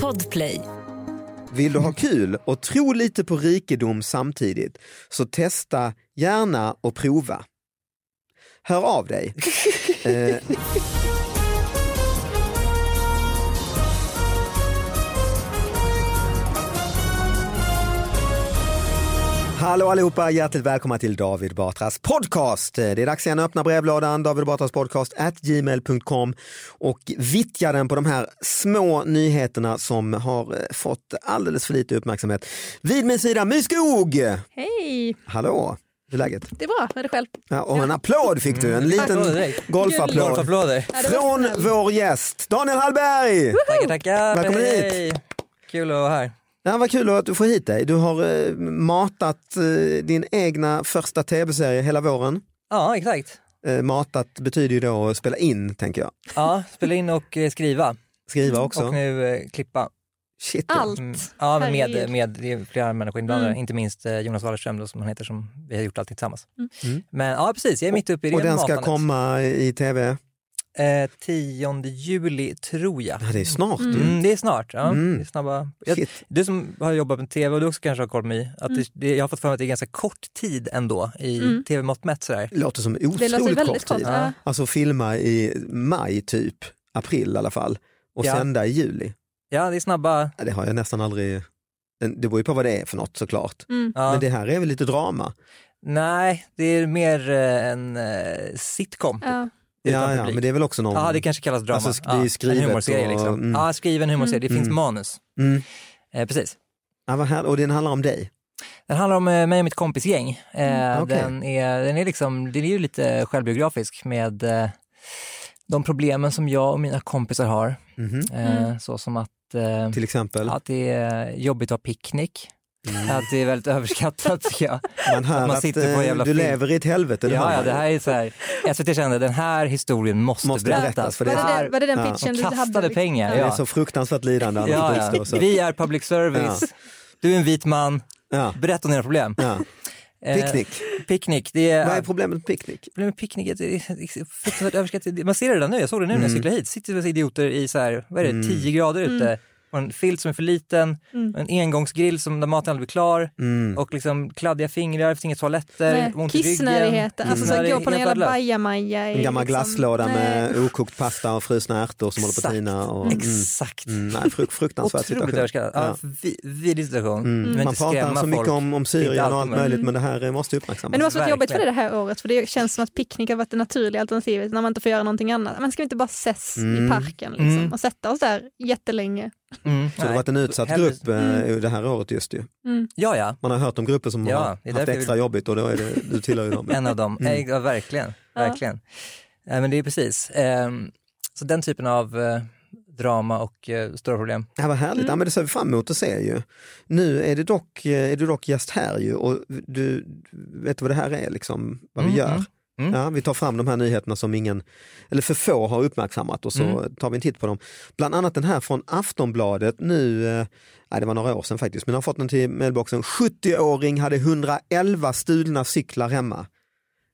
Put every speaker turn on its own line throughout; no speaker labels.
Podplay.
Vill du ha kul och tro lite på rikedom samtidigt så testa gärna och prova. Hör av dig. Eh, Hallå allihopa, hjärtligt välkomna till David Batras podcast. Eh, Det är dags igen att öppna brevlådan, David Batras podcast at gmail.com och vittja den på de här små nyheterna som har eh, fått alldeles för lite uppmärksamhet. Vid min sida, My Skog!
Hej!
Hallå, hur är läget?
Det är bra, med dig själv.
Ja, och en applåd fick du, en liten
Applåder direkt.
golfapplåd.
Golfapplåder.
Från vår gäst Daniel Hallberg!
Tackar, tackar.
Välkommen hit.
Hej. Kul att vara här.
Ja, vad kul att du får hit dig. Du har eh, matat eh, din egna första tv-serie hela våren.
Ja, exakt.
Eh, matat betyder ju då att spela in, tänker jag.
Ja, spela in och eh, skriva
Skriva också.
och nu eh, klippa.
Shit, ja.
Allt.
Mm. Ja, men
Herregud.
med, med det är flera människor inblandade,
Mm.
inte minst eh, Jonas Wallerström då, som han heter som vi har gjort allting tillsammans.
Mm.
Men ja, precis, jag är mitt uppe i det
Och den ska
matandet.
komma i tv.
Eh, 10 juli tror jag.
Ja, det är snart ju.
Mm, det är snart. Ja.
Mm.
Det är snabba. Jag,
Shit.
Du som har jobbat med tv och du också kanske har koll med i, att det, det, jag har fått för mig att det är ganska kort tid ändå i
Mm.
tv-mått mätt sådär.
Det låter som
Det låter
otroligt
väldigt
kort
kort.
tid.
Ja.
Alltså filma i maj typ, april i alla fall. Och
Ja.
sända i juli.
Ja, det är snabba.
Ja, Det har jag nästan aldrig... Det beror ju på vad det är för något såklart.
Mm.
Ja.
Men det här är väl lite drama.
Nej, det är mer eh, en eh, sitcom.
Ja.
Utan
Ja, ja,
publik.
men det är väl också någon...
Ja, det kanske kallas drama.
Alltså, sk- det är
ja,
skrivet
en humorserie
och-
liksom.
mm.
Ja, skriven humorserie. Det finns
Mm.
manus.
mm.
Eh, precis.
ja, vad här... Och den handlar om dig.
Den handlar om eh, mig och mitt kompisgäng. Eh,
Mm, okej.
den, är, den, är liksom, den är ju lite självbiografisk med eh, de problemen som jag och mina kompisar har.
Mhm.
Eh,
Mm.
Så som att, eh,
Till exempel.
att det är jobbigt att ha picknick.
Mm.
Att det är väldigt överskattat tycker jag.
Man hör
man
att
sitter på en
eh,
jävla
du
film.
lever i ett helvete. det hör
Ja, ja,
man ju.
det här är så här. SVT kände den här historien måste,
Måste
berättas.
berättas, för
Var,
det
det
här,
den, var det
Ja.
den pitchen
de
du hade?
kastade pengar.
Det är
Ja.
så fruktansvärt lidande. annars
Ja,
att
ja.
utstå, så.
Vi är public service. Du är en vit man.
Ja.
Berätta om dina problem.
Ja.
Eh,
Picknick.
Picknick, det är...
Vad är problemet med picknick?
Problemet med picknick är att det är fruktansvärt överskattat. Man ser det där nu, jag såg det nu
Mm.
när jag cyklade hit. Sitter med idioter i så här, vad är det, 10 grader
Mm.
ute. Och en filt som är för liten, en engångsgrill som, där maten aldrig blir klar.
Mm.
Och liksom kladdiga fingrar, det finns inga toaletter,
Nej,
ont i ryggen.
Kissnödigheten, alltså så
Kissnödig-
gå på någon
helt
jävla
värdelöst.
bajamaja. i
En gammal
liksom-
glasslåda
Nej.
med okokt pasta och frusna ärtor som håller på att
Exakt.
tina. Och, mm,
Exakt.
mm, nej, fruk- fruktansvärd
Otroligt
situation.
överskattat. Ja. vi- Vidrig situation. Vi vill
Mm. Man
inte skrämma
pratar så mycket
folk.
om, om
Det är
Syrien
inte
och allt
alltid
möjligt men det här eh, måste uppmärksammas.
Men det måste varit jobbigt för dig det
Verkligen.
här året för det känns som att picknick har varit det naturliga alternativet när man inte får göra någonting annat. Men ska vi inte bara ses
Mm.
i parken liksom,
Mm.
och sätta oss där jättelänge?
Mm,
så det har
nej.
varit en utsatt
Hellre- Mm.
grupp eh, det här året just ju.
Ja, ja.
Man har hört om grupper som
Ja, det är
har haft
därför jag
extra
vill-
jobbigt och då är det, du tillhör ju dem.
En av dem.
Mm.
Eh, Ja, verkligen. verkligen. Eh, men det är precis. Ehm, så den typen av eh, drama och eh, stora problem.
Ja, vad härligt, ja, men det ser vi fram emot att se ju. Nu är, det dock, eh, är du dock gäst här ju och du vet du vad det här är, liksom, vad vi
Mm,
gör.
mm, mm.
Ja, vi tar fram de här nyheterna som ingen, eller för få har uppmärksammat och så
Mm.
tar vi en titt på dem. Bland annat den här från Aftonbladet nu, eh, nej, det var några år sedan faktiskt, men jag har fått den till mailboxen. 70-åring hade 111 stulna cyklar hemma.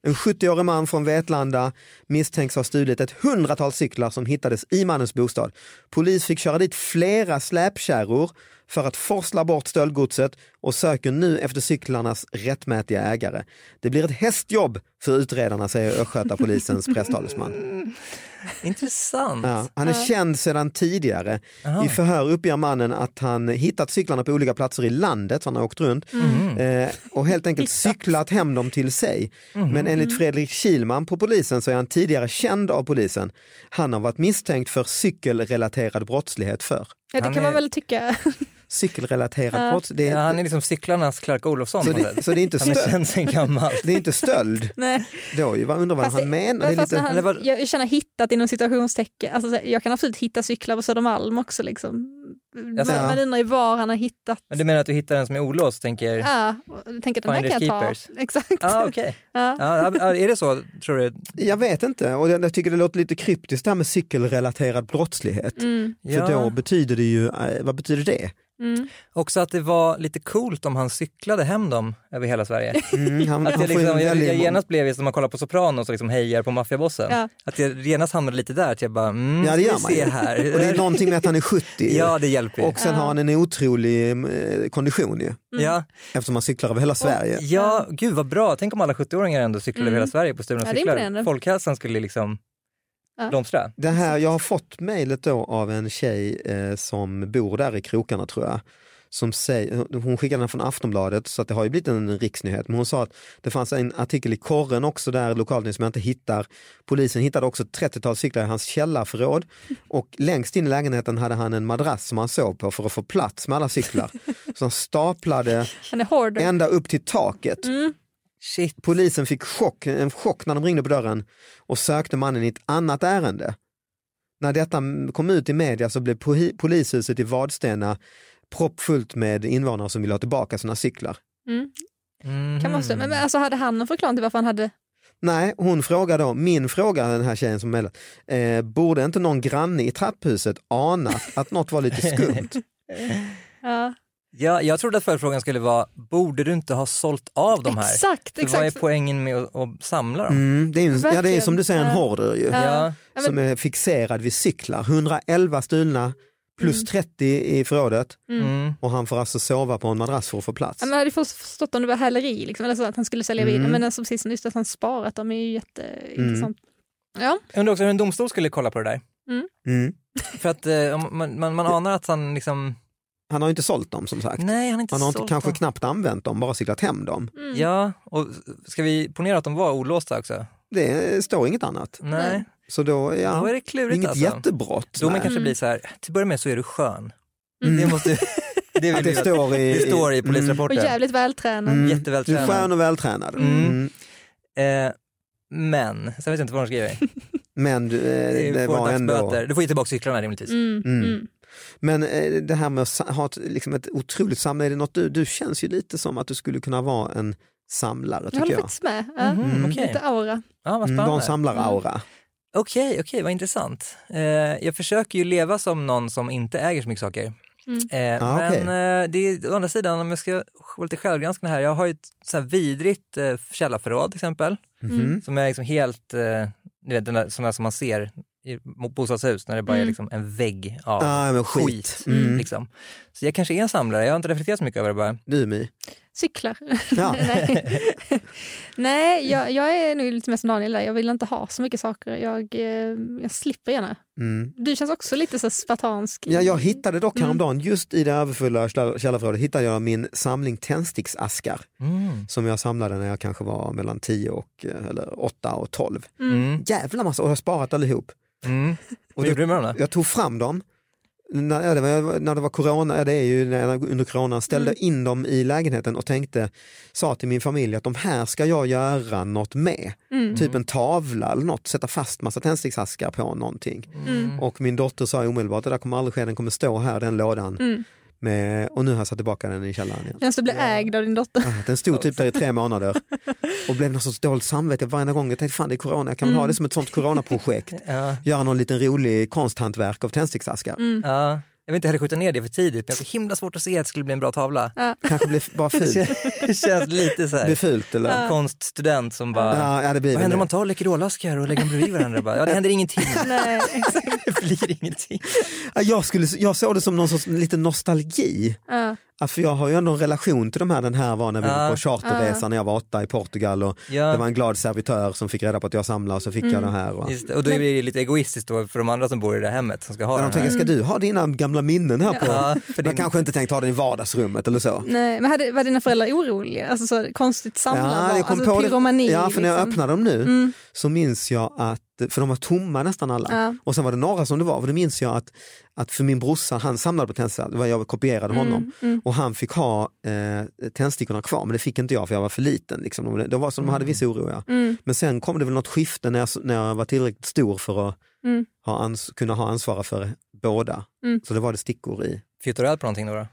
En 70-årig man från Vetlanda misstänks ha stulit ett hundratal cyklar som hittades i mannens bostad. Polis fick köra dit flera släpkärror för att forsla bort stöldgodset och söker nu efter cyklarnas rättmätiga ägare. Det blir ett hästjobb för utredarna, säger Östgötapolisens presstalesman.
Intressant.
Ja, han är känd sedan tidigare. I förhör uppger mannen att han hittat cyklarna på olika platser i landet, så han har åkt runt,
Mm.
eh, och helt enkelt cyklat hem dem till sig.
Mhm.
Men enligt
Mm.
Fredrik Kilman på polisen så är han tidigare känd av polisen. Han har varit misstänkt för cykelrelaterad brottslighet för.
Ja, det
Han
kan man
är-
väl tycka.
Cykelrelaterad brottslighet,
Ja,
det är,
han är liksom cyklarnas Clark Olofsson.
så,
på något
det,
sätt.
så det är inte
Han är
stöld.
känd sen gammalt.
Det är inte stöld
Nej.
då ju, vad undrar vad
Fast
han
det-
menar. Det
Men
är
fast när
lite,
han,
eller vad-
Jag känner hittat inom citationstecken. Alltså, så här, jag kan absolut hitta cyklar på Södermalm också. Liksom.
Jag ser-
Men man undrar ju var han har hittat.
Men du menar att du hittar en som är olåst tänker...
Ja, och jag tänker den här kan
Finders
jag ta.
keepers.
Exakt.
Ah, okej.
Ja.
Ja, ja, är det så, tror du?
jag vet inte, och jag jag tycker det låter lite kryptiskt det här med cykelrelaterad brottslighet.
Mm.
För då
Ja.
betyder det ju, eh, vad betyder det?
Mm.
Också att det var lite coolt om han cyklade hem dem över hela Sverige.
Mm, han,
Att
han
jag,
får ju
liksom, jag,
väldigt
jag
många-
genast blev, som man kollar på Sopranos och liksom hejar på maffiabossen,
Ja.
att jag genast hamnade lite där, att jag bara, mm,
Ja, det gör
vi
man ju.
se här.
Och det är någonting med att han är 70 ju.
ja, det hjälper ju.
och sen har han en otrolig eh, kondition ju,
Mm.
Ja,
eftersom han cyklar över hela Sverige.
ja, gud vad bra. Tänk om alla 70-åringar ändå cyklade över
Mm.
hela Sverige på stulna
Ja, det är
cyklar.
imponerande.
Folkhälsan skulle liksom
Ja.
blomstra.
Det här, jag har fått mejlet då av en tjej eh, som bor där i krokarna tror jag. Som säger, hon skickade den från Aftonbladet så att det har ju blivit en riksnyhet. Men hon sa att det fanns en artikel i korren också där lokalt som jag inte hittar. Polisen hittade också ett 30-tal cyklar i hans källarförråd och längst in i lägenheten hade han en madrass som han sov på för att få plats med alla cyklar. Så han staplade
Han är hård. Mm,
ända upp till taket.
Shit.
Polisen fick chock, en chock när de ringde på dörren och sökte mannen i ett annat ärende. När detta kom ut i media så blev po- polishuset i Vadstena proppfullt med invånare som ville ha tillbaka sina cyklar.
Mm.
Mhm.
Kan man också, men men alltså hade han någon förklaring till varför han hade...
Nej, hon frågar då, min fråga den här tjejen som mejlat, eh, borde inte någon granne i trapphuset anat att något var lite skumt?
Ja,
Ja, jag trodde att förfrågan skulle vara, borde du inte ha sålt av de här?
Exakt,
För Vad är
exakt.
poängen med att, att samla dem?
Mm, det, är ju, en- ja, det är
Verkligen.
som du säger en
Ja.
hoarder ju,
Ja.
Ja.
Ja, men-
som är fixerad vid cyklar. 111 stulna plus 30 i förrådet.
Mm.
Mm.
Och han får alltså sova på en madrass för att få plats.
Ja, men Jag hade först förstått om det var häleri, liksom, eller så att han skulle sälja
Mm.
vidare. Men alltså, precis som just att han sparat dem är ju jätteintressant. Ja,
Jag undrar också hur en domstol skulle kolla på det där.
Mm.
För att eh, om man, man, man anar att han liksom,
Han har ju inte sålt dem som sagt.
nej han har inte
han har inte,
sålt
kanske
dem.
knappt använt dem, bara cyklat hem dem.
mm.
Ja, och ska vi ponera att de var olåsta också?
Det står inget annat.
Nej,
Så då,
då är
ja,
det klurigt
inget
alltså.
jättebrott.
Domen
nej.
kanske
Mm.
blir så här, till att börja med så är du skön.
Mm.
Det, måste, det,
Att
vill
det, Mm.
vi,
står i,
det står i
Och
polisrapporten.
jävligt vältränad.
Mm. Du är
Jättevältränad.
skön och vältränad.
Mm.
Mm.
Eh, men, sen vet jag inte vad de skriver.
Men du, eh,
Du
det
får
var ändå...
dagsböter. Du får ju tillbaka cyklarna rimligtvis.
Mm.
Mm.
Mm.
Men eh, det här med att sa- ha ett, liksom ett otroligt samlande, är det något du, du känns ju lite som att du skulle kunna vara en samlare
Jag
tycker
håller
jag.
faktiskt med. Ja.
Mhm,
Mm.
Okej,
Lite aura.
ja, vad
Mm, du har en
spännande.
samlaraura.
Okej, okej, vad intressant. Eh, jag försöker ju leva som någon som inte äger så mycket saker.
Mm.
Eh,
Ah,
men
okej.
eh, det är, å andra sidan, om jag ska vara lite självgranskande här, jag har ju ett så här vidrigt eh, källarförråd till exempel,
Mhm.
Mm.
som är liksom helt, eh, ni vet, den där, sådana som man ser i mo- bostadshus när det bara är
Mm.
liksom en vägg av
Ah, men skit. Mm.
Liksom. Så jag kanske är en samlare, jag har inte reflekterat så mycket över det bara.
Du My.
Cyklar.
Ja.
Nej, Nej jag, jag är nog lite mer som Daniel där. Jag vill inte ha så mycket saker. Jag, eh, jag slipper gärna.
Mm.
Du känns också lite så spartansk. i-
Ja,
Mm.
jag hittade dock häromdagen, just i det överfulla käll- källarförrådet, hittade jag min samling tändsticksaskar
Mm.
som jag samlade när jag kanske var mellan 10 och eh, eller 8 och 12.
Mm.
Jävla massa, och jag har sparat allihop.
Mm.
Och
Vad gjorde du med dem då?
Jag tog fram dem när ja, det var, när det var corona, ja, det är ju när- under corona, ställde
Mm.
in dem i lägenheten och tänkte, sa till min familj att de här ska jag göra något med.
Mm.
Typ en tavla eller något, sätta fast massa tändsticksaskar på någonting.
Mm.
Och min dotter sa omedelbart, det där kommer aldrig ske, den kommer stå här den lådan.
Mm.
Med, och nu har jag satt tillbaka den i källaren igen.
Känns du blir ägd av din dotter.
Ah, Den stod typ där i tre månader och blev någon sorts dåligt samvete varje gång. Jag tänkte fan det är corona, jag kan väl ha det som ett sånt coronaprojekt.
Ja.
Göra någon liten rolig konsthantverk av tändsticksaskar.
Ja. Jag vill inte heller skjuta ner det för tidigt, men jag har så himla svårt att se att det skulle bli en bra tavla.
Kanske blir f- bara fult.
Det känns lite så
Blir
här,
fult eller?
konststudent som bara,
Ja, ja, det blir
vad
väl
händer om
det.
man tar Läkerolaskar och lägger dem bredvid varandra? Bara, ja, det händer ingenting.
Nej,
det blir ingenting.
Ja, jag, skulle, jag såg det som någon sorts liten nostalgi.
Ja.
Ja, För jag har ju ändå en relation till de här, den här var när vi var
Ja.
på charterresa när jag var åtta i Portugal och
Ja. Mm.
det var en glad servitör som fick reda på att jag samlade och så fick jag den här. Och,
Just det, och då blir det lite egoistiskt då för de andra som bor i det här hemmet som ska ha
Ja,
den
de
här.
tänker, ska du ha dina gamla minnen här på?
Ja, för
för
det-
Man kanske inte tänkt ha den i vardagsrummet eller så.
Nej, men hade, var dina föräldrar oroliga? Alltså så konstigt samlande,
jag kom
alltså
på det-
pyromani.
Ja, för när jag
liksom.
öppnade dem nu
Mm.
så minns jag att, för de var tomma nästan alla,
Ja.
och sen var det några som det var, för då minns jag att, att för min brorsa, han samlade på tändstickor, det var jag
Mm.
kopierade honom, och han fick ha eh, tändstickorna kvar, men det fick inte jag för jag var för liten. Liksom. De- Det var som de hade
Mm.
vissa oroliga. Men sen kom det väl något skifte när jag, när jag var tillräckligt stor för att
Mm.
ha ans- kunna ha ansvar för båda.
Mm.
Så det var det stickor i.
Flyttar du eld på någonting då? då?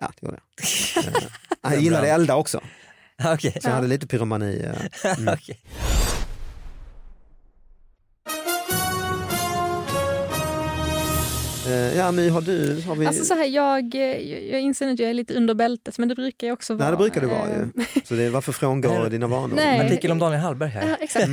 Ja, det gjorde jag. Eh, jag gillade elda också,
Ja, Okej.
så jag hade lite pyromani. eh.
Okej.
Eh, ja, My, har du... Har vi...
Alltså så här, jag, jag jag inser nu att jag är lite under bältet, men det brukar jag också vara.
Nej, det brukar du vara
Eh,
ju. Så det är, varför frångår du dina vanor?
Nej.
En artikel om Daniel Hallberg här.
Ja, exakt.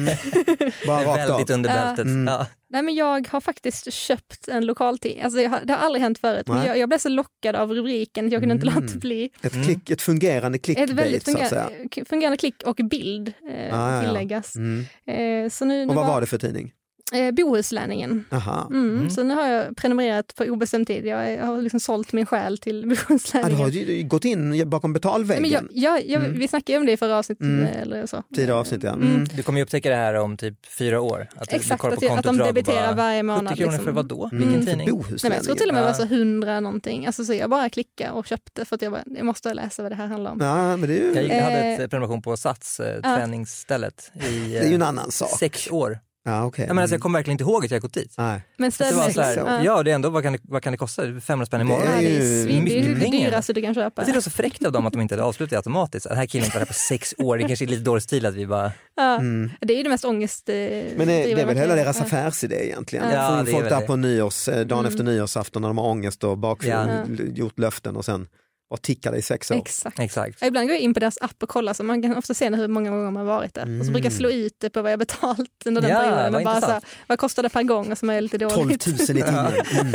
Bara rakt av.
Väldigt under
Ja.
bältet.
Mm.
Ja.
Nej, men jag har faktiskt köpt en lokaltidning. Alltså, jag har, det har aldrig hänt förut, men
Nej.
jag, jag blev så lockad av rubriken att jag kunde inte
Mm.
låta bli.
Ett,
Mm.
klick, ett fungerande
Ett väldigt
clickbait så att säga.
fungerande, fungerande klick och bild eh,
Ah, ja, ja.
tilläggas.
Mm.
Eh, så nu, nu
Och vad var det för tidning?
Eh, Bohuslänningen.
Aha.
Mm,
Mm.
Så nu har jag prenumererat för obestämd tid. Jag, jag har liksom sålt min själ till
Ja, du
Bohuslänningen.
har ju gått in bakom
Nej,
betalväggen.
men jag, jag, jag,
Mm.
Vi snackade ju om det i förra avsnittet. eh,
Mm.
Eller så.
Tidigare avsnitt ja.
Mm.
Mm.
Du kommer ju upptäcka det här om typ fyra år. Att du- du
Exakt,
kollar
att,
på
jag, att de
kontoutdrag och
debiterar
bara,
varje månad.
70 kronor för vad då? Vilken
Mm.
tidning?
Nej, men jag tror
Bohuslänningen.
till och med det var
Ja.
så 100 någonting. Alltså, så jag bara klickade och köpte för att jag, bara, jag måste läsa vad det här handlar om.
Ja, men det är ju,
Jag gick- jag hade
Eh.
ett eh, prenumeration på Sats, eh,
Ja.
träningsstället, i
det är ju en
eh,
annan sak.
sex år.
Ja, okay.
Jag, menar, alltså, jag kommer verkligen inte ihåg att jag gått dit.
Nej.
Men
Det var
Sex
så här,
år.
ja, det är ändå, vad kan det, vad kan det kosta? 500 spänn i
Ja,
månaden?
det
ju
är svin- det är ju
mycket
det
pengar.
dyraste du kan köpa.
Jag tyckte det var så fräckt av dem att de inte hade avslutat det automatiskt. Den här killen var där på sex år, det kanske är lite dålig stil att vi bara...
Ja.
Mm.
Det är ju det mest ångest... eh,
Men det, det är
drivande.
väl hela deras
Ja.
affärsidé egentligen.
Ja,
Få in
det är
folk
väl
där
det.
på nyårs, eh, dagen
Mm.
efter nyårsafton när de har ångest och bakfull,
Ja.
l- gjort löften och sen bara tickar det i sex år.
Exakt.
Exakt.
Ja, Ibland går jag in på deras app och kollar, så man kan ofta se hur många gånger man varit där. Och så brukar jag slå ut det på vad jag betalt under den
Mm. Ja,
perioden. Men
vad
bara så här,
intressant.
vad kostade per gång? Och så är jag lite
12 000 i
dåligt.
timmen. Mm.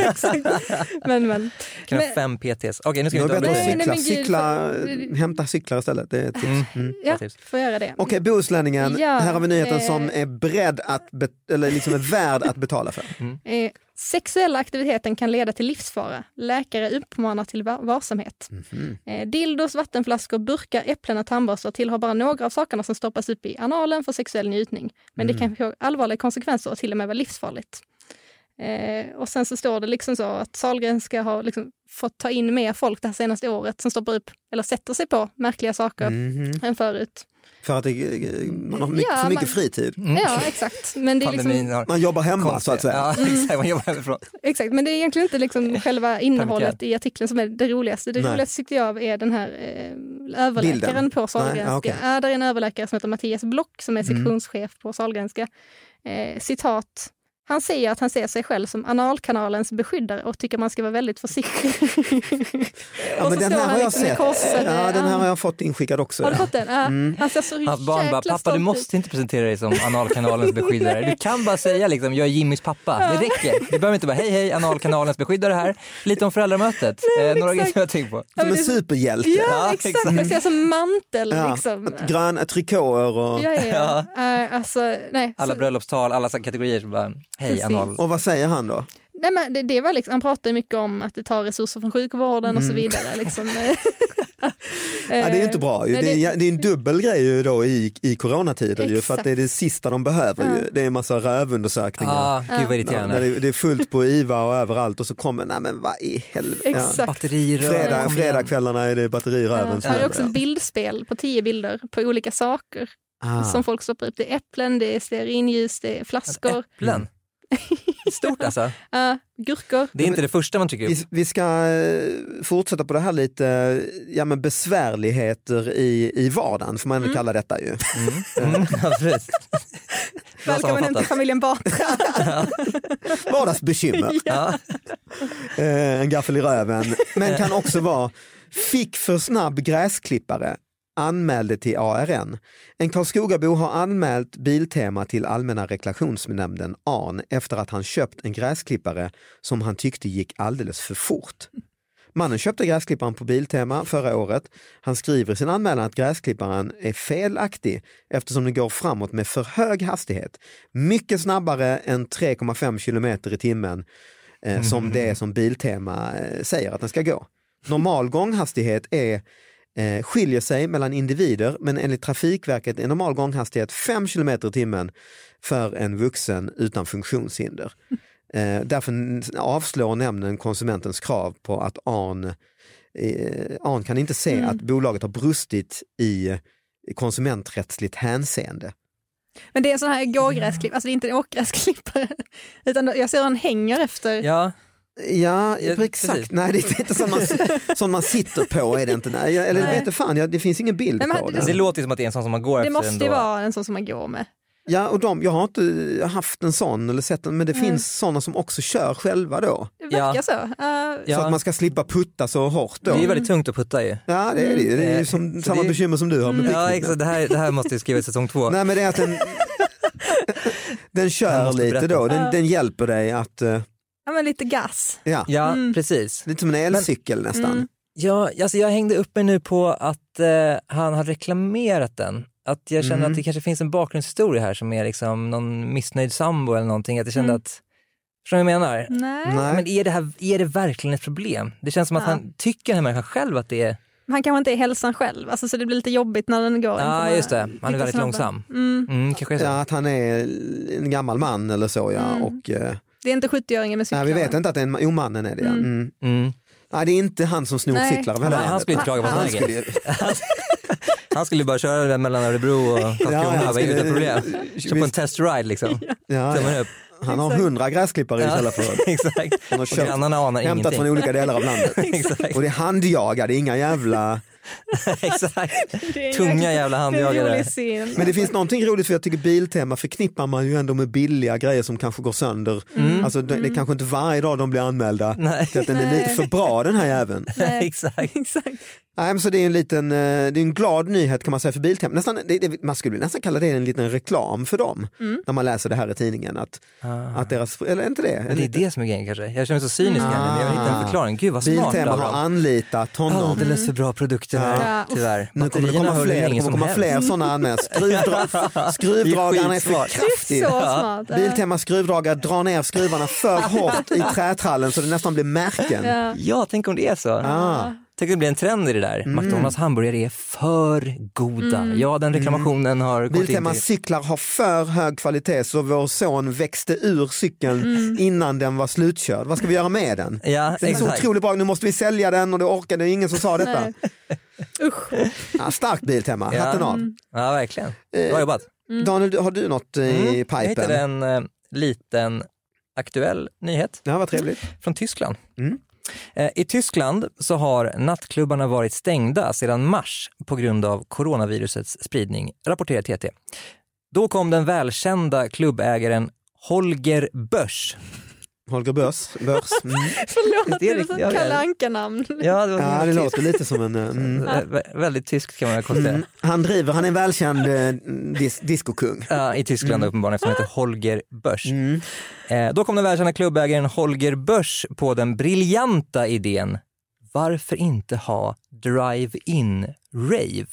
Men, men.
Kan vi
Men-
ha fem PTs? Okej, nu ska vi
Jag
inte
vet
avbryta
att
Nej,
dig.
nej,
cykla,
men gud,
cykla,
för-
hämta cyklar istället. Det är ett tips.
Mm.
Mm.
Ja,
tips.
får jag göra det.
Okej, Bohuslänningen.
Ja,
här har vi nyheten
eh.
som är beredd att, bet- eller liksom är värd att betala för.
Eh, sexuella aktiviteten kan leda till livsfara. Läkare uppmanar till va- varsamhet.
Mhm,
Eh, dildos, vattenflaskor, burkar, äpplen och tandborstar tillhör bara några av sakerna som stoppas upp i analen för sexuell njutning. Men det kan få allvarliga konsekvenser och till och med vara livsfarligt. Eh, och sen så står det liksom så att Sahlgrenska har liksom fått ta in mer folk det här senaste året som stoppar upp eller sätter sig på märkliga saker
Mhm.
än förut.
För att det, eh, man har mycket,
Ja,
för mycket
man-
fritid.
Ja, exakt. Men det är liksom,
Mm. Pandemin har
Man jobbar hemma så att
konstiga...
säga.
Ja, exakt. Man jobbar hemifrån.
Exakt, men det är egentligen inte liksom själva innehållet i artikeln som är det roligaste. Det
Eh, Nej.
roligaste tyckte jag är den här eh, överläkaren
Bilden.
på
Nej, ah,
Sahlgrenska.
okej.
Ja, där är en överläkare som heter Mattias Block som är
Mm.
sektionschef på Sahlgrenska. Eh, citat. Han säger att han ser sig själv som analkanalens beskyddare och tycker man ska vara väldigt försiktig.
Ja,
och så
men den
står
här har
han
jag
liksom med
sett.
korsade
Ja, den här
arm.
har jag Mm. fått inskickad också.
Har du fått den? Ja. Han ser så
Hans barn bara,
jäkla
pappa du
stolt ut."
måste inte presentera dig som analkanalens beskyddare. Du kan bara säga liksom, jag är Jimmys pappa. Det räcker. Du behöver inte bara, hej hej, analkanalens beskyddare här. Lite om föräldramötet. eh, några grejer
exakt.
som jag tänkt på.
Ja, men
Som en
det-
superhjälte.
Ja,
Ja,
exakt.
exakt.
Jag ser som mantel.
Ja,
Liksom.
att Gröna trikåer och...
Ja, ja, ja. Eh, alltså, nej,
Alla
så-
bröllopstal, alla så här kategorier. Som bara, hej
Precis.
anal.
Och vad säger han då?
Nej, men det, det var liksom, han pratade mycket om att det tar resurser från sjukvården och så vidare. Liksom.
Ja, det är ju inte bra. Ju.
Eh, Nej,
det...
det-
är, det är en dubbel grej ju då i, i coronatider ju, för att det är det sista de behöver. Ju. Det är en massa rövundersökningar.
Ah, gud vad
Ja, när
irriterande.
det, det är fullt på IVA och överallt och så kommer, nej men vad i helvete. Ja.
Exakt.
Batterier.
Fredag,
kom igen.
fredagskvällarna är det
Ja,
batteriröven
eh,
som
han har
gäller,
också ett
ja.
bildspel på tio bilder på olika saker
Ah.
som folk stoppar upp. Det är äpplen, det är stearinljus, det är flaskor,
Äpplen. Stort alltså.
äh, gurkor.
Det är inte det första man tycker.
Vi, vi ska eh, fortsätta på det här lite ja, men besvärligheter i, i vardagen, får man ändå kalla detta ju.
Mm. Mm. absolut. Bra
Välkommen hem till
sammanfattat.
familjen Batra.
Vardagsbekymmer,
Ja.
eh, en gaffel i röven, men kan också vara fick för snabb gräsklippare, anmälde till ARN. En Karlskogabo har anmält Biltema till Allmänna reklamationsnämnden, ARN, efter att han köpt en gräsklippare som han tyckte gick alldeles för fort. Mannen köpte gräsklipparen på Biltema förra året. Han skriver i sin anmälan att gräsklipparen är felaktig eftersom den går framåt med för hög hastighet. Mycket snabbare än 3,5 kilometer i timmen eh, som det är som Biltema eh, säger att den ska gå. Normal gånghastighet är eh, skiljer sig mellan individer men enligt Trafikverket är normal gånghastighet 5 kilometer i timmen för en vuxen utan funktionshinder. Eh, därför n- avslår nämnden konsumentens krav på att ARN, eh, ARN kan inte se att bolaget har brustit i konsumenträttsligt hänseende.
Men det är en sån här gågräsklipp, alltså det är inte en åkgräsklippare. Utan jag ser hur han hänger efter.
ja,
Ja,
Ja,
exakt.
precis.
Nej, det är inte sånt man, sånt man sitter på. Är det inte. Nej, jag- eller
Nej.
vet du fan, jag, det finns ingen bild
Nej, men
på
det-
det.
det låter ju som att det är en sån som man går
Det
efter
måste ju
ändå.
vara en sån som man går med.
Ja, och de, jag har inte haft en sån eller sett en, men det finns sådana som också kör själva då.
Det verkar
Ja.
så. Eh,
Ja.
Så att man ska slippa putta så hårt då.
Det är ju väldigt tungt att putta ju.
Ja, det är det. Det är ju
Mm.
som,
Så
samma
det är-
bekymmer som du har med
Ja,
picknicken.
exakt. Det här, det här måste ju skriva i säsong två.
Mm. Nej men det är att den, den
Jag
kör
måste
lite
berätta.
då, den,
Ja.
den hjälper dig att, eh,
ja, men lite gas.
ja,
Ja,
Mm.
precis.
lite som en elcykel nästan.
Mm.
Ja, alltså jag hängde upp mig nu på att eh, han har reklamerat den. Att jag känner
Mm.
att det kanske finns en bakgrundshistoria här som är liksom någon missnöjd sambo eller någonting. Att jag kände
Mm.
att, förstår du vad jag menar?
Nej.
Nej.
Men är det, här, är det verkligen ett problem? Det känns som att
Ja.
han tycker den här människan själv att det är,
Men Han kanske inte är hälsan själv, alltså, så det blir lite jobbigt när den går.
ja
Den kommer
just det, han är
lite
väldigt
snabbare.
långsam.
Mm.
Mm, kanske är så.
Ja, att han är en gammal man eller så ja.
Mm.
Och, eh,
Det är inte 70-åringen med
nej,
cyklarna.
vi vet inte att det är en man, jo mannen är det ja.
Mm.
Mm.
Mm.
Nej det är inte han som snor
Nej.
cyklar.
Han,
väl?
han skulle inte klaga på
Han
sådana
han
här grejer.
skulle,
Han skulle bara köra den mellan Örebro och Karlskrona.
han
Vad är det för
skulle-
problem? Köpa en testride liksom.
ja,
Tummen
ja.
upp.
Han har
Exakt.
hundra gräsklippare istället för
Exakt.
Han har
Och
kört,
grannarna anar
hämtat från
ingenting.
olika delar av landet.
Exakt.
Och det är handjagade, inga jävla...
Exakt.
Det är en
Tunga
jäkla-
jävla
det är en
handjagare.
rolig scen.
Men det finns någonting roligt för jag tycker Biltema förknippar man ju ändå med billiga grejer som kanske går sönder.
Mm.
Alltså det, det är kanske inte varje dag de blir anmälda.
Nej,
Så att den är lite
Nej.
för bra den här jäveln.
Nej,
exakt.
Exakt.
Nej, men så det är en liten, eh, det är en glad nyhet kan man säga för Biltema. Nästan, det, det, man skulle nästan kalla det en liten reklam för dem
Mm.
när man läser det här i tidningen. Att,
Ah.
att deras, eller är inte det? En
Men det är
liten-
det som är grejen kanske. Jag känner mig så cynisk här nu, men jag vill
Ah.
hitta en förklaring. Gud vad smart
Biltema
av
har
dem.
anlitat honom.
Alldeles för bra produkter här,
Ja.
tyvärr.
Nu kommer det
Batterierna
komma
höll
fler,
hur
det
länge
kommer
som
komma
helst.
fler sådana anmälningar. Skruvdra- Skruvdragaren är för
skitsmart.
kraftig.
Så smart.
Biltema skruvdragare drar ner skruvarna för hårt i trätrallen så det nästan blir märken.
Ja.
Ja, tänk om det är så.
Ah.
Tänk om det blir en trend i det där.
Mm.
McDonalds hamburgare är för goda. Ja, den reklamationen har gått in
Biltema
till...
cyklar har för hög kvalitet så vår son växte ur cykeln
Mm.
innan den var slutkörd. Vad ska vi göra med den?
Ja,
Den är så
exakt.
otroligt bra, nu måste vi sälja den och det orkade det är ingen som sa detta.
Nej. Usch.
Ja, starkt Biltema,
Ja.
hatten av. Eh,
Ja, verkligen. Bra jobbat.
Mm.
Mm,
Daniel, du- har du något eh, i
Jag
pipen?
hittade en eh, liten aktuell nyhet.
Ja, vad trevligt.
från Tyskland.
Mm.
Eh, I Tyskland så har nattklubbarna varit stängda sedan mars på grund av coronavirusets spridning, rapporterar TT. Då kom den välkända klubbägaren Holger Bösch.
Holger Börs. Börs. Mm.
Förlåt,
Det
det
är
är ett
riktigt-
sånt
ja, ja.
Kalle Anka-namn.
Ja, det var
Ja, det
väldigt
låter lite som en... eh,
tyskt.
Mm.
Eh, vä- Väldigt tyskt kan man konstatera.
Mm. Han driver, han är en välkänd eh, dis- diskokung.
Ja, I Tyskland uppenbarligen eftersom han heter Holger Bösch.
Mm.
Eh, då kom den välkända klubbägaren Holger Bösch på den briljanta idén varför inte ha drive-in rave?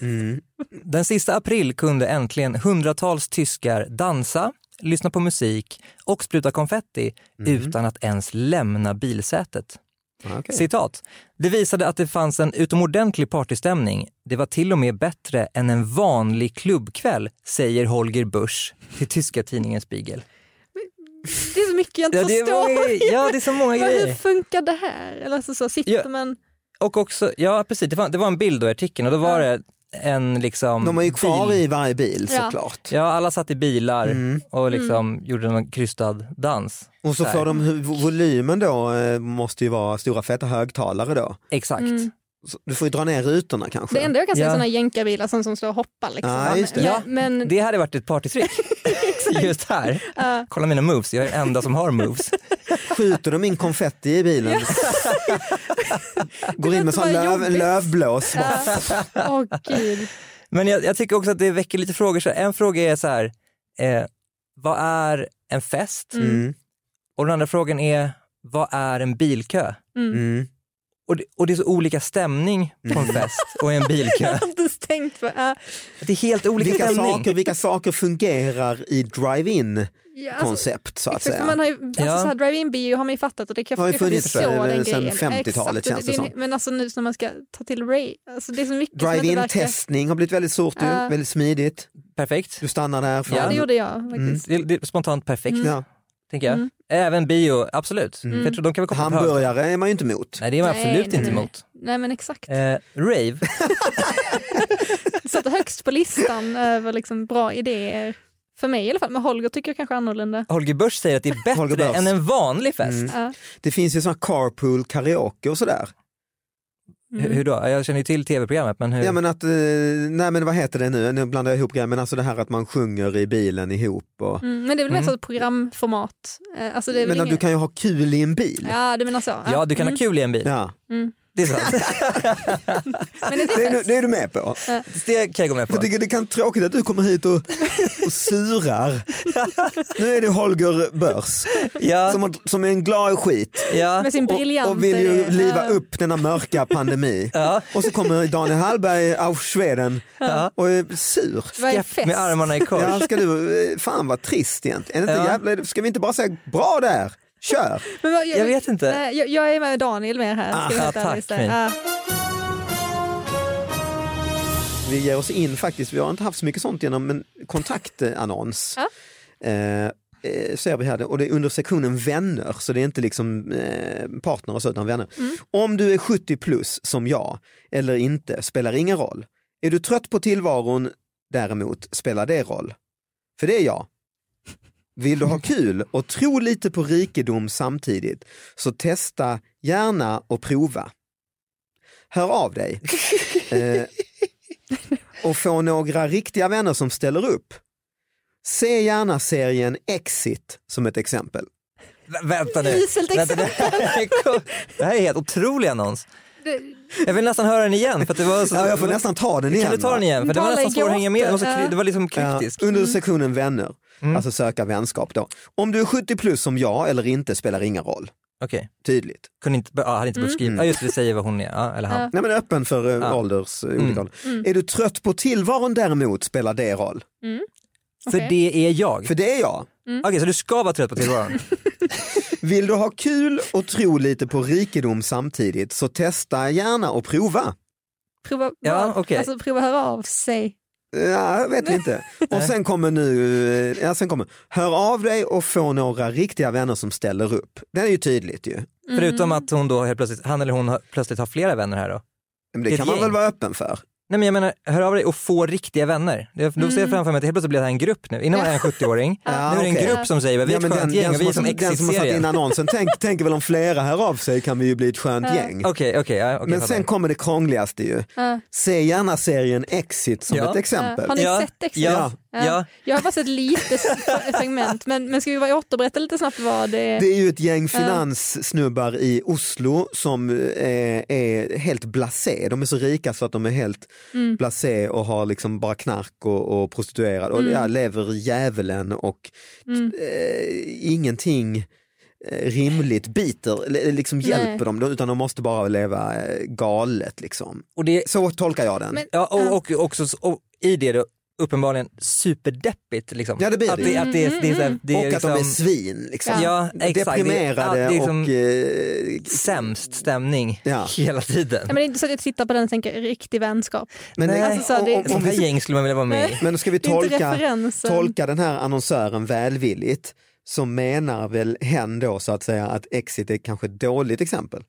Mm.
Den sista april kunde äntligen hundratals tyskar dansa, lyssna på musik och spruta konfetti
Mm.
utan att ens lämna bilsätet.
Ja, okej.
Citat. Det visade att det fanns en utomordentlig partystämning. Det var till och med bättre än en vanlig klubbkväll, säger Holger Busch till tyska tidningen Spiegel.
Det är så mycket jag inte
Ja, det är,
förstår.
många, grejer. ja, det är så många
Vad- Hur
grejer.
funkar det här? Eller alltså så sitter
Ja.
man...
Och också, ja precis, det var, det var en bild då i artikeln och då var det en liksom...
De är ju kvar
bil-
i varje bil
Ja.
såklart.
Ja, alla satt i bilar
Mm.
och liksom gjorde någon krystad dans.
Och så
Där.
får de hu- volymen då, eh, måste ju vara stora feta högtalare då.
Exakt.
Mm.
Så du får ju dra ner rutorna kanske.
Det enda jag kan säga
Ja.
är såna jänkarbilar som, som står och hoppar. Liksom.
Ja, just det.
Ja.
Men, men,
Det hade varit ett partytrick. Just här.
Ja.
Kolla mina moves, jag är den enda som har moves.
Skjuter de in konfetti i bilen, går in med sån
låter bara
löv,
jobbigt.
lövblås. bara.
Ja. Åh gud.
Men jag, jag tycker också att det väcker lite frågor. Så här, en fråga är så här, eh, vad är en fest?
Mm.
Och den andra frågan är, vad är en bilkö?
Mm.
Och det, och det är så olika stämning på en fest och en bilkö.
Jag har inte ens tänkt på ja.
Det är helt olika
Vilka,
stämning.
saker, vilka saker fungerar i drive-in
Ja, alltså,
koncept så att
exakt, för
säga?
Man har ju, alltså,
Ja.
så här, drive-in bio har man ju fattat och det kan
Har ju
det kan
funnits
förstå
där
den
sedan
grejen.
50-talet
Exakt,
känns det
är- Men alltså nu när man ska ta till Ray, alltså, det är så mycket som inte verkar-
Drive-in-testning har blivit väldigt stort, ju.
Ja.
väldigt smidigt.
Perfekt.
Du stannar där. För
Ja,
Ja, det gjorde jag faktiskt.
Det, är- det är spontant perfekt,
Ja.
tänker jag.
Mm.
Även bio, absolut. För Jag tror de kan väl
Mm.
komma på hög-
Hamburgare är man ju inte emot.
Nej, det är man
Nej,
absolut
nej,
inte
nej.
emot.
Nej men exakt.
Eh, rave,
Det satt högst på listan över liksom bra idéer. För mig i alla fall, men Holger tycker jag kanske är annorlunda.
Holger Busch säger att det är
Holger
bättre
Börs.
än en vanlig fest.
Mm.
Ja.
Det finns ju sån här carpool karaoke och sådär.
Hur, hur då? Jag känner ju till tv-programmet men hur?
Ja men att, eh, nej men vad heter det nu, nu blandar jag ihop grejer, men alltså det här att man sjunger i bilen ihop. Och,
Mm, men det är väl mer så ett programformat? Eh, Alltså det är väl
men att
ingen...
du kan ju ha kul i en bil.
Ja, Mm. du menar så?
Ja, du kan ha kul i en bil.
Mm. Ja.
Det är sant.
Men är det
Det, är,
fest?
nu- det är du med på.
Det kan jag gå med på.
Jag tycker det kan tråkigt att du kommer hit och, och surar. Nu är det Holger Börs som,
Ja,
har, som är en glad skit
ja.
Med sin briljanta...
och vill ju
idé.
liva
Ja.
upp denna mörka pandemi.
Ja.
Och så kommer Daniel Hallberg av Schweden och är sur.
Vad är
Skepp
fest?
med armarna i kors.
Ja, ska du, eh, fan vad trist egentligen. Är det inte
Ja.
jävla, ska vi inte bara säga bra där, kör.
Men vad-
Jag vet inte.
Nej, Jag, jag är med Daniel mer här. ska jag vara
Aha,
helt ärlig och
tack,
säga.
Mia.
Ja.
Vi ger oss in faktiskt, vi har inte haft så mycket sånt genom en kontaktannons.
Ja.
Eh, eh, ser vi här, det- och det är under sektionen vänner, så det är inte liksom eh, partner och så, utan vänner. Om du är 70 plus som jag, eller inte, spelar ingen roll. Är du trött på tillvaron däremot, spelar det roll? För det är jag. Vill du ha kul och tro lite på rikedom samtidigt, så testa gärna och prova. Hör av dig. Eh, och få några riktiga vänner som ställer upp. Se gärna serien Exit som ett exempel.
Vä- Vänta nu.
Uselt
Vänta, det, här är cool. det här är helt otrolig annons.
Det-
Jag vill nästan höra den igen. För att det var så,
Ja, jag får nästan Mm. ta den igen. Mm.
Kan du ta
va?
den igen? För det var
Tala i
nästan svårt att hänga med. Det var, så,
gåtor.
kry- det var liksom
Ja,
kryptisk.
under sektionen vänner, alltså söka vänskap då. Om du är 70 plus som jag eller inte spelar ingen roll.
Okej,
Tydligt.
kunde inte, be- ja, hade inte behövt skriva. Ja, just det, det säger vad hon är. Ja, eller han.
Nej men öppen för eh, ålders, eh, olika ålder. Är du trött på tillvaron däremot spelar det roll.
För
Okej.
det är jag.
För det är jag.
Okej, så du ska vara trött på tillvaron?
Mm.
Vill du ha kul och tro lite på rikedom samtidigt så testa gärna och prova.
Prova,
Ja,
vad?
okej.
alltså, prova höra av sig.
Ja, jag vet inte. Och sen kommer nu, eh, ja, sen kommer, hör av dig och få några riktiga vänner som ställer upp. Det är ju tydligt ju.
Mm. Förutom att hon då helt plötsligt, han eller hon har, plötsligt har flera vänner här då.
Men det
Ett
kan man
gäng.
väl vara öppen för.
Nej men jag menar, hör av dig och få riktiga vänner. Det- Då
Mm.
ser jag framför mig att helt plötsligt blir det här en grupp nu. Innan var det en 70-åring,
Ja,
nu är det en
Ah, okej.
grupp som säger vi är ett
men
skönt gäng och vi är som
har, den som har satt in
Exit-serien.
annonsen tänk, tänker väl om flera hör av sig kan vi ju bli ett skönt gäng.
Okej, okej. ja, okej,
Men
fattar.
sen kommer det krångligaste ju.
Ja.
Se gärna serien Exit som
Ja.
ett exempel.
Ja. Har ni
ja,
sett Exit?
Ja,
Ja.
ja.
Jag har bara sett lite s- segment, men, men ska vi bara återberätta lite snabbt vad det är?
Det är ju ett gäng finanssnubbar i Oslo som eh, är helt blasé. De är så rika så att de är helt
Mm.
blasé och har liksom bara knark och, och
Mm.
prostituerade och ja, lever i djävulen och eh, ingenting eh, rimligt biter, eller liksom hjälper dem utan de måste bara leva eh, galet liksom.
Och, det,
Så tolkar jag den.
Men-
ja, och, och också så- och i det då uppenbarligen superdeppigt liksom.
Ja, det blir
att
det
det,
ju.
att det, är- det, är så här- det
och
är
att
liksom,
de är svin liksom.
Ja, exakt.
Deprimerade
Det är- ja, det är som-
och eh,
sämst stämning
Ja.
hela tiden.
Ja, men det är inte så att jag tittar på den och tänker riktig vänskap.
men
Nej,
alltså, så det-
om- om- om
Sånt här
vi
gäng skulle man vilja vara med i.
Men ska vi
Det är inte
tolka,
referensen.
tolka den här annonsören välvilligt så menar väl hen då så att säga att Exit är kanske ett dåligt exempel.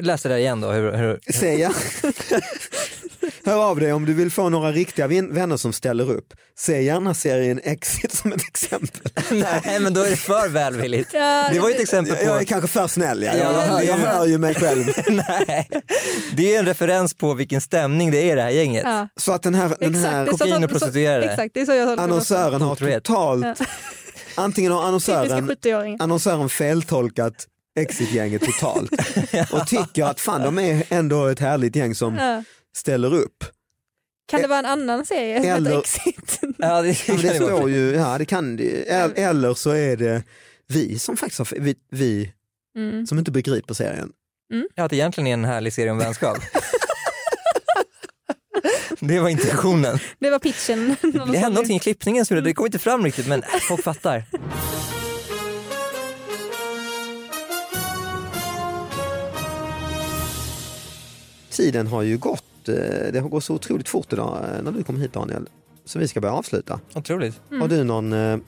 Läs det där igen då. Hur, hur,
Säga. Hör av dig om du vill få några riktiga vin- vänner som ställer upp. Se gärna serien Exit som ett exempel.
nej men då är det för välvilligt.
Ja,
Det var ju ett exempel på...
Jag är kanske för snäll, ja. jag,
Ja,
hör,
det
jag
är-
hör ju mig själv.
nej, det är en referens på vilken stämning det är i det här gänget.
ja.
Så att den här, den här
det är så
kokain
att-
och
så-
prostituerade.
Exakt, det är så jag tolkar
annonsören har
Otroligt.
totalt, antingen har
Typiska
annonsören
70-åring.
annonsören feltolkat Exit-gänget totalt och tycker att fan de är ändå ett härligt gäng som
Ja.
ställer upp.
Kan det vara en annan serie som
Eller-
heter Exit?
Ja, det,
Ja,
kan
men det
det vara.
står ju, ja det kan det ju. El- Eller så är det vi som faktiskt har, vi, vi
Mm.
som inte begriper serien.
Ja, att det egentligen är en härlig serie om vänskap. det var intentionen.
Det var pitchen.
Det hände någonting i klippningen, så det kom inte fram riktigt men äh, folk fattar.
Tiden har ju gått, eh, det har gått så otroligt fort idag eh, när du kom hit Daniel. Så vi ska börja avsluta.
Otroligt.
Har du någon, eh,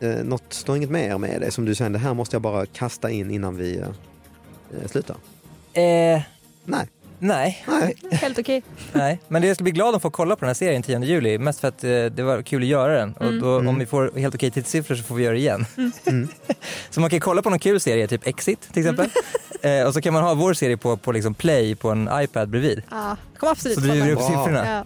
eh, något, står inget mer med dig som du kände, här måste jag bara kasta in innan vi eh, eh, slutar?
Eh,
Nej.
nej,
Nej.
Helt okej.
nej, men jag skulle bli glad om folk kollar på den här serien 10 juli, mest för att eh, det var kul att göra den och då, om vi får helt Mm. okej tidssiffror så får vi göra det igen. så man kan kolla på någon kul serie, typ Exit till exempel, Eh, och så kan man ha vår serie på, på liksom play på en iPad bredvid.
Ja, kom absolut
Så driver du upp
Wow.
siffrorna.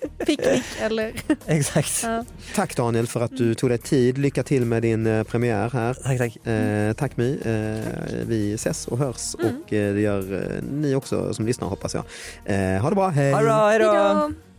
Ja. Picknick eller...
Exakt.
Ja.
Tack Daniel för att du tog dig tid. Lycka till med din eh, premiär här.
Tack, tack.
Eh, tack My. Eh, vi ses och hörs och eh, det gör eh, ni också som lyssnar hoppas jag. Eh, ha det bra, hej!
Ha det bra,
Hej
hej då!
då!